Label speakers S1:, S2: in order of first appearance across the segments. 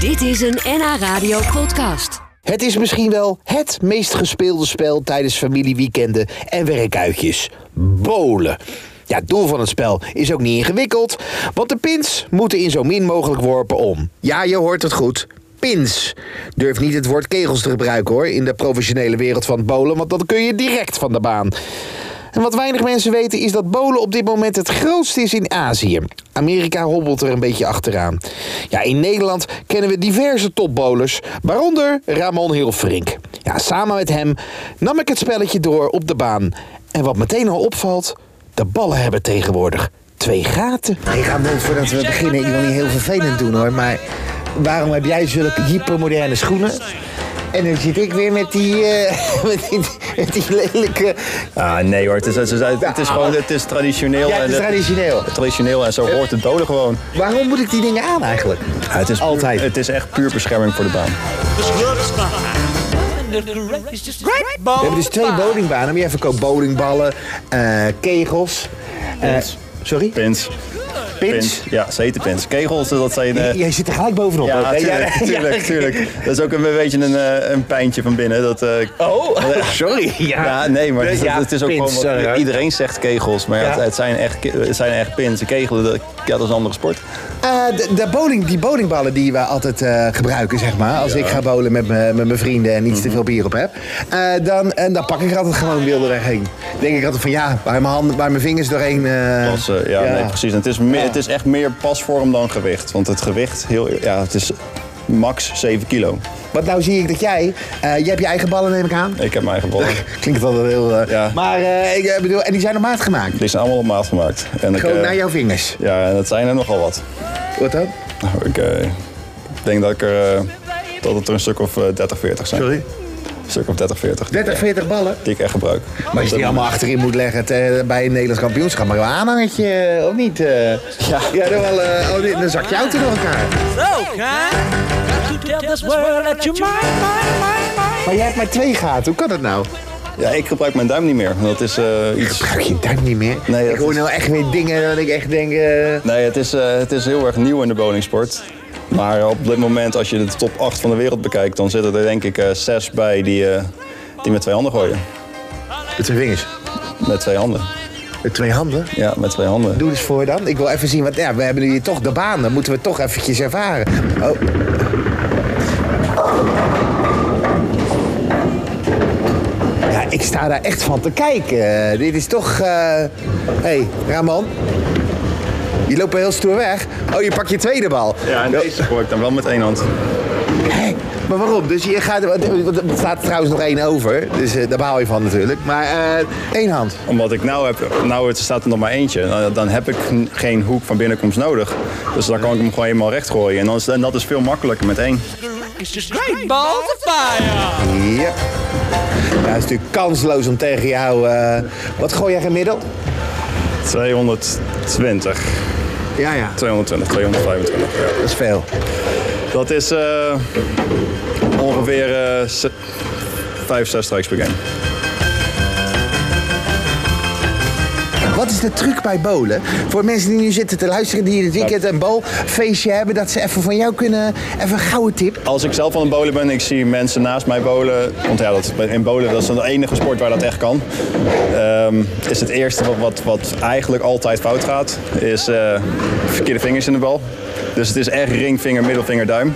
S1: Dit is een NH Radio podcast.
S2: Het is misschien wel het meest gespeelde spel tijdens familieweekenden en werkuitjes. Bolen. Ja, het doel van het spel is ook niet ingewikkeld, want de pins moeten in zo min mogelijk worpen om. Ja, je hoort het goed. Pins. Durf niet het woord kegels te gebruiken hoor, in de professionele wereld van het bolen, want dan kun je direct van de baan. En wat weinig mensen weten is dat bolen op dit moment het grootste is in Azië. Amerika hobbelt er een beetje achteraan. Ja, in Nederland kennen we diverse topbolers, waaronder Ramon Hilfrink. Ja, samen met hem nam ik het spelletje door op de baan. En wat meteen al opvalt, de ballen hebben tegenwoordig twee gaten.
S3: Ik ga Bond, voordat we beginnen, ik wil niet heel vervelend doen hoor, maar waarom heb jij zulke hypermoderne schoenen? En dan zit ik weer met die, eh, met die, met die lelijke...
S4: Ah, nee hoor, het is, het is, het is gewoon het is traditioneel.
S3: Ja, het is
S4: en het-
S3: traditioneel.
S4: traditioneel en zo hoort het doden gewoon.
S3: Waarom moet ik die dingen aan eigenlijk?
S4: Ja, het is puur-
S3: Altijd.
S4: het is echt puur bescherming voor de baan.
S3: We hebben dus twee bowlingbanen, maar jij verkoopt bowlingballen, eh, kegels... eh, sorry?
S4: Pins.
S3: Pins?
S4: Ja, zetenpins. Kegels, dat zijn... eh,
S3: Jij zit er gelijk bovenop.
S4: ja,
S3: ook, hè?
S4: tuurlijk,
S3: Ja,
S4: tuurlijk,
S3: ja.
S4: tuurlijk. Dat is ook een beetje een, eh, een pijntje van binnen. Dat, eh,
S3: Oh, sorry. Ja,
S4: Ja, nee, maar het is,
S3: Ja,
S4: het is ook
S3: pins,
S4: gewoon...
S3: sorry,
S4: Wat,
S3: hoor.
S4: iedereen zegt kegels, maar ja,
S3: Ja.
S4: het, het zijn echt, ke- het zijn echt pins. Kegelen, dat, ja, dat is een andere sport.
S3: Eh, de, de bowling, die bowlingballen die we altijd eh, gebruiken, zeg maar. Als ik ga bowlen met mijn met mijn vrienden en iets
S4: Mhm.
S3: te veel bier op heb. eh, dan, en dan pak ik er altijd gewoon wilde weg heen. denk ik altijd van ja, waar mijn, handen, waar mijn vingers doorheen... eh,
S4: Pas, eh, ja, nee, precies. En het, is meer, het is echt meer pasvorm dan gewicht. Want het gewicht, heel, ja, het is max 7 kilo.
S3: Want nou zie ik dat jij... eh, jij hebt je eigen ballen, neem ik aan.
S4: Ik heb mijn eigen ballen.
S3: Klinkt het altijd heel... eh,
S4: Ja.
S3: Maar eh, ik eh, bedoel, en die zijn op maat gemaakt.
S4: Die zijn allemaal op maat gemaakt. En ik,
S3: Gewoon
S4: eh,
S3: naar jouw vingers.
S4: Ja, en dat zijn er nogal wat.
S3: Wat dan?
S4: Nou, Ik eh, denk dat, ik er, eh, dat het er een stuk of eh, 30, 40 zijn.
S3: Sorry?
S4: Een stuk of 30, 40.
S3: 30, 40 ballen.
S4: Die ik echt gebruik.
S3: Maar als je die allemaal achterin moet leggen te- bij een Nederlands kampioenschap, maar een aanhangertje eh, of niet? eh? ja. dan, wel, eh, oh, dit- dan zak je auto door elkaar. Maar jij hebt maar twee gaten, hoe kan dat nou?
S4: Ja, ik gebruik mijn duim niet meer. Dat is eh, iets...
S3: Gebruik je duim niet meer?
S4: Nee, dat
S3: ik hoor
S4: is-
S3: nou echt weer dingen dat ik echt denk... eh,
S4: Nee, het is, eh, het is heel erg nieuw in de bowlingsport. Maar op dit moment, als je de top 8 van de wereld bekijkt, dan zitten er denk ik eh, zes bij die, eh, die met twee handen gooien.
S3: Met twee vingers.
S4: Met twee handen.
S3: Met twee handen.
S4: Ja, met twee handen.
S3: Doe eens voor dan. Ik wil even zien, want ja, we hebben hier toch de baan. Dan moeten we toch eventjes ervaren. Oh. Ja, ik sta daar echt van te kijken. Eh, dit is toch... Hé, hey, Ramon. Je loopt wel heel stoer weg. Oh, je pakt je tweede bal.
S4: Ja, en deze gooi ik dan wel met één hand.
S3: Hé, maar waarom? Dus je gaat... want Er staat trouwens nog één over. Dus eh, daar baal je van natuurlijk. Maar eh, één hand.
S4: Omdat ik nou heb, nou het staat er nog maar eentje. Nou, Dan, dan heb ik n- geen hoek van binnenkomst nodig. Dus dan kan ik hem gewoon helemaal recht gooien. En, dan is, en dat is veel makkelijker met één.
S3: Ja. Ja, het is natuurlijk kansloos om tegen jou. eh, wat gooi jij gemiddeld?
S4: 220,
S3: Ja, ja.
S4: 220, 225. ja.
S3: Dat is veel.
S4: Dat is eh, ongeveer eh, ze- vijf, zes strikes per game.
S3: Wat is de truc bij bolen? Voor mensen die nu zitten te luisteren, die in het weekend een bolfeestje hebben, dat ze even van jou kunnen. Even een gouden tip.
S4: Als ik zelf aan het bowlen ben, ik zie mensen naast mij bowlen. Want ja, dat, in bowlen dat is de enige sport waar dat echt kan. Ehm, is het eerste wat, wat, wat eigenlijk altijd fout gaat, is eh, verkeerde vingers in de bal. Dus het is echt ringvinger, middelvinger, duim.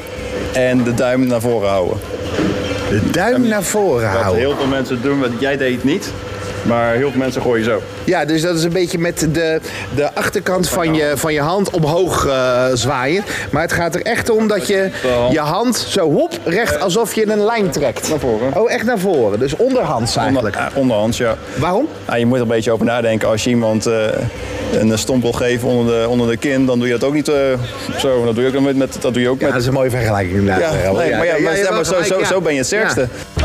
S4: En de duim naar voren houden.
S3: De duim naar voren
S4: Wat
S3: houden.
S4: heel veel mensen doen, wat jij deed het niet. Maar heel veel mensen gooien zo.
S3: Ja, dus dat is een beetje met de, de achterkant van je, van je hand omhoog eh, zwaaien. Maar het gaat er echt om dat je je hand zo hop, recht alsof je een lijn trekt.
S4: Naar voren.
S3: Oh, echt naar voren. Dus onderhands
S4: Onder,
S3: eigenlijk.
S4: ja, onderhands, ja.
S3: Waarom?
S4: Nou, je moet er een beetje over nadenken. Als je iemand eh, een stomp wil geven onder de, onder de kin, dan doe je dat ook niet eh, zo. Dat doe je ook met, met, dat doe je ook
S3: Ja,
S4: met
S3: dat is een mooie vergelijking inderdaad.
S4: Ja,
S3: Raoul.
S4: nee, maar, ja,
S3: Ja,
S4: maar
S3: ja,
S4: stel maar zo,
S3: gelijk,
S4: zo,
S3: ja.
S4: zo ben je het sterkste.
S3: Ja.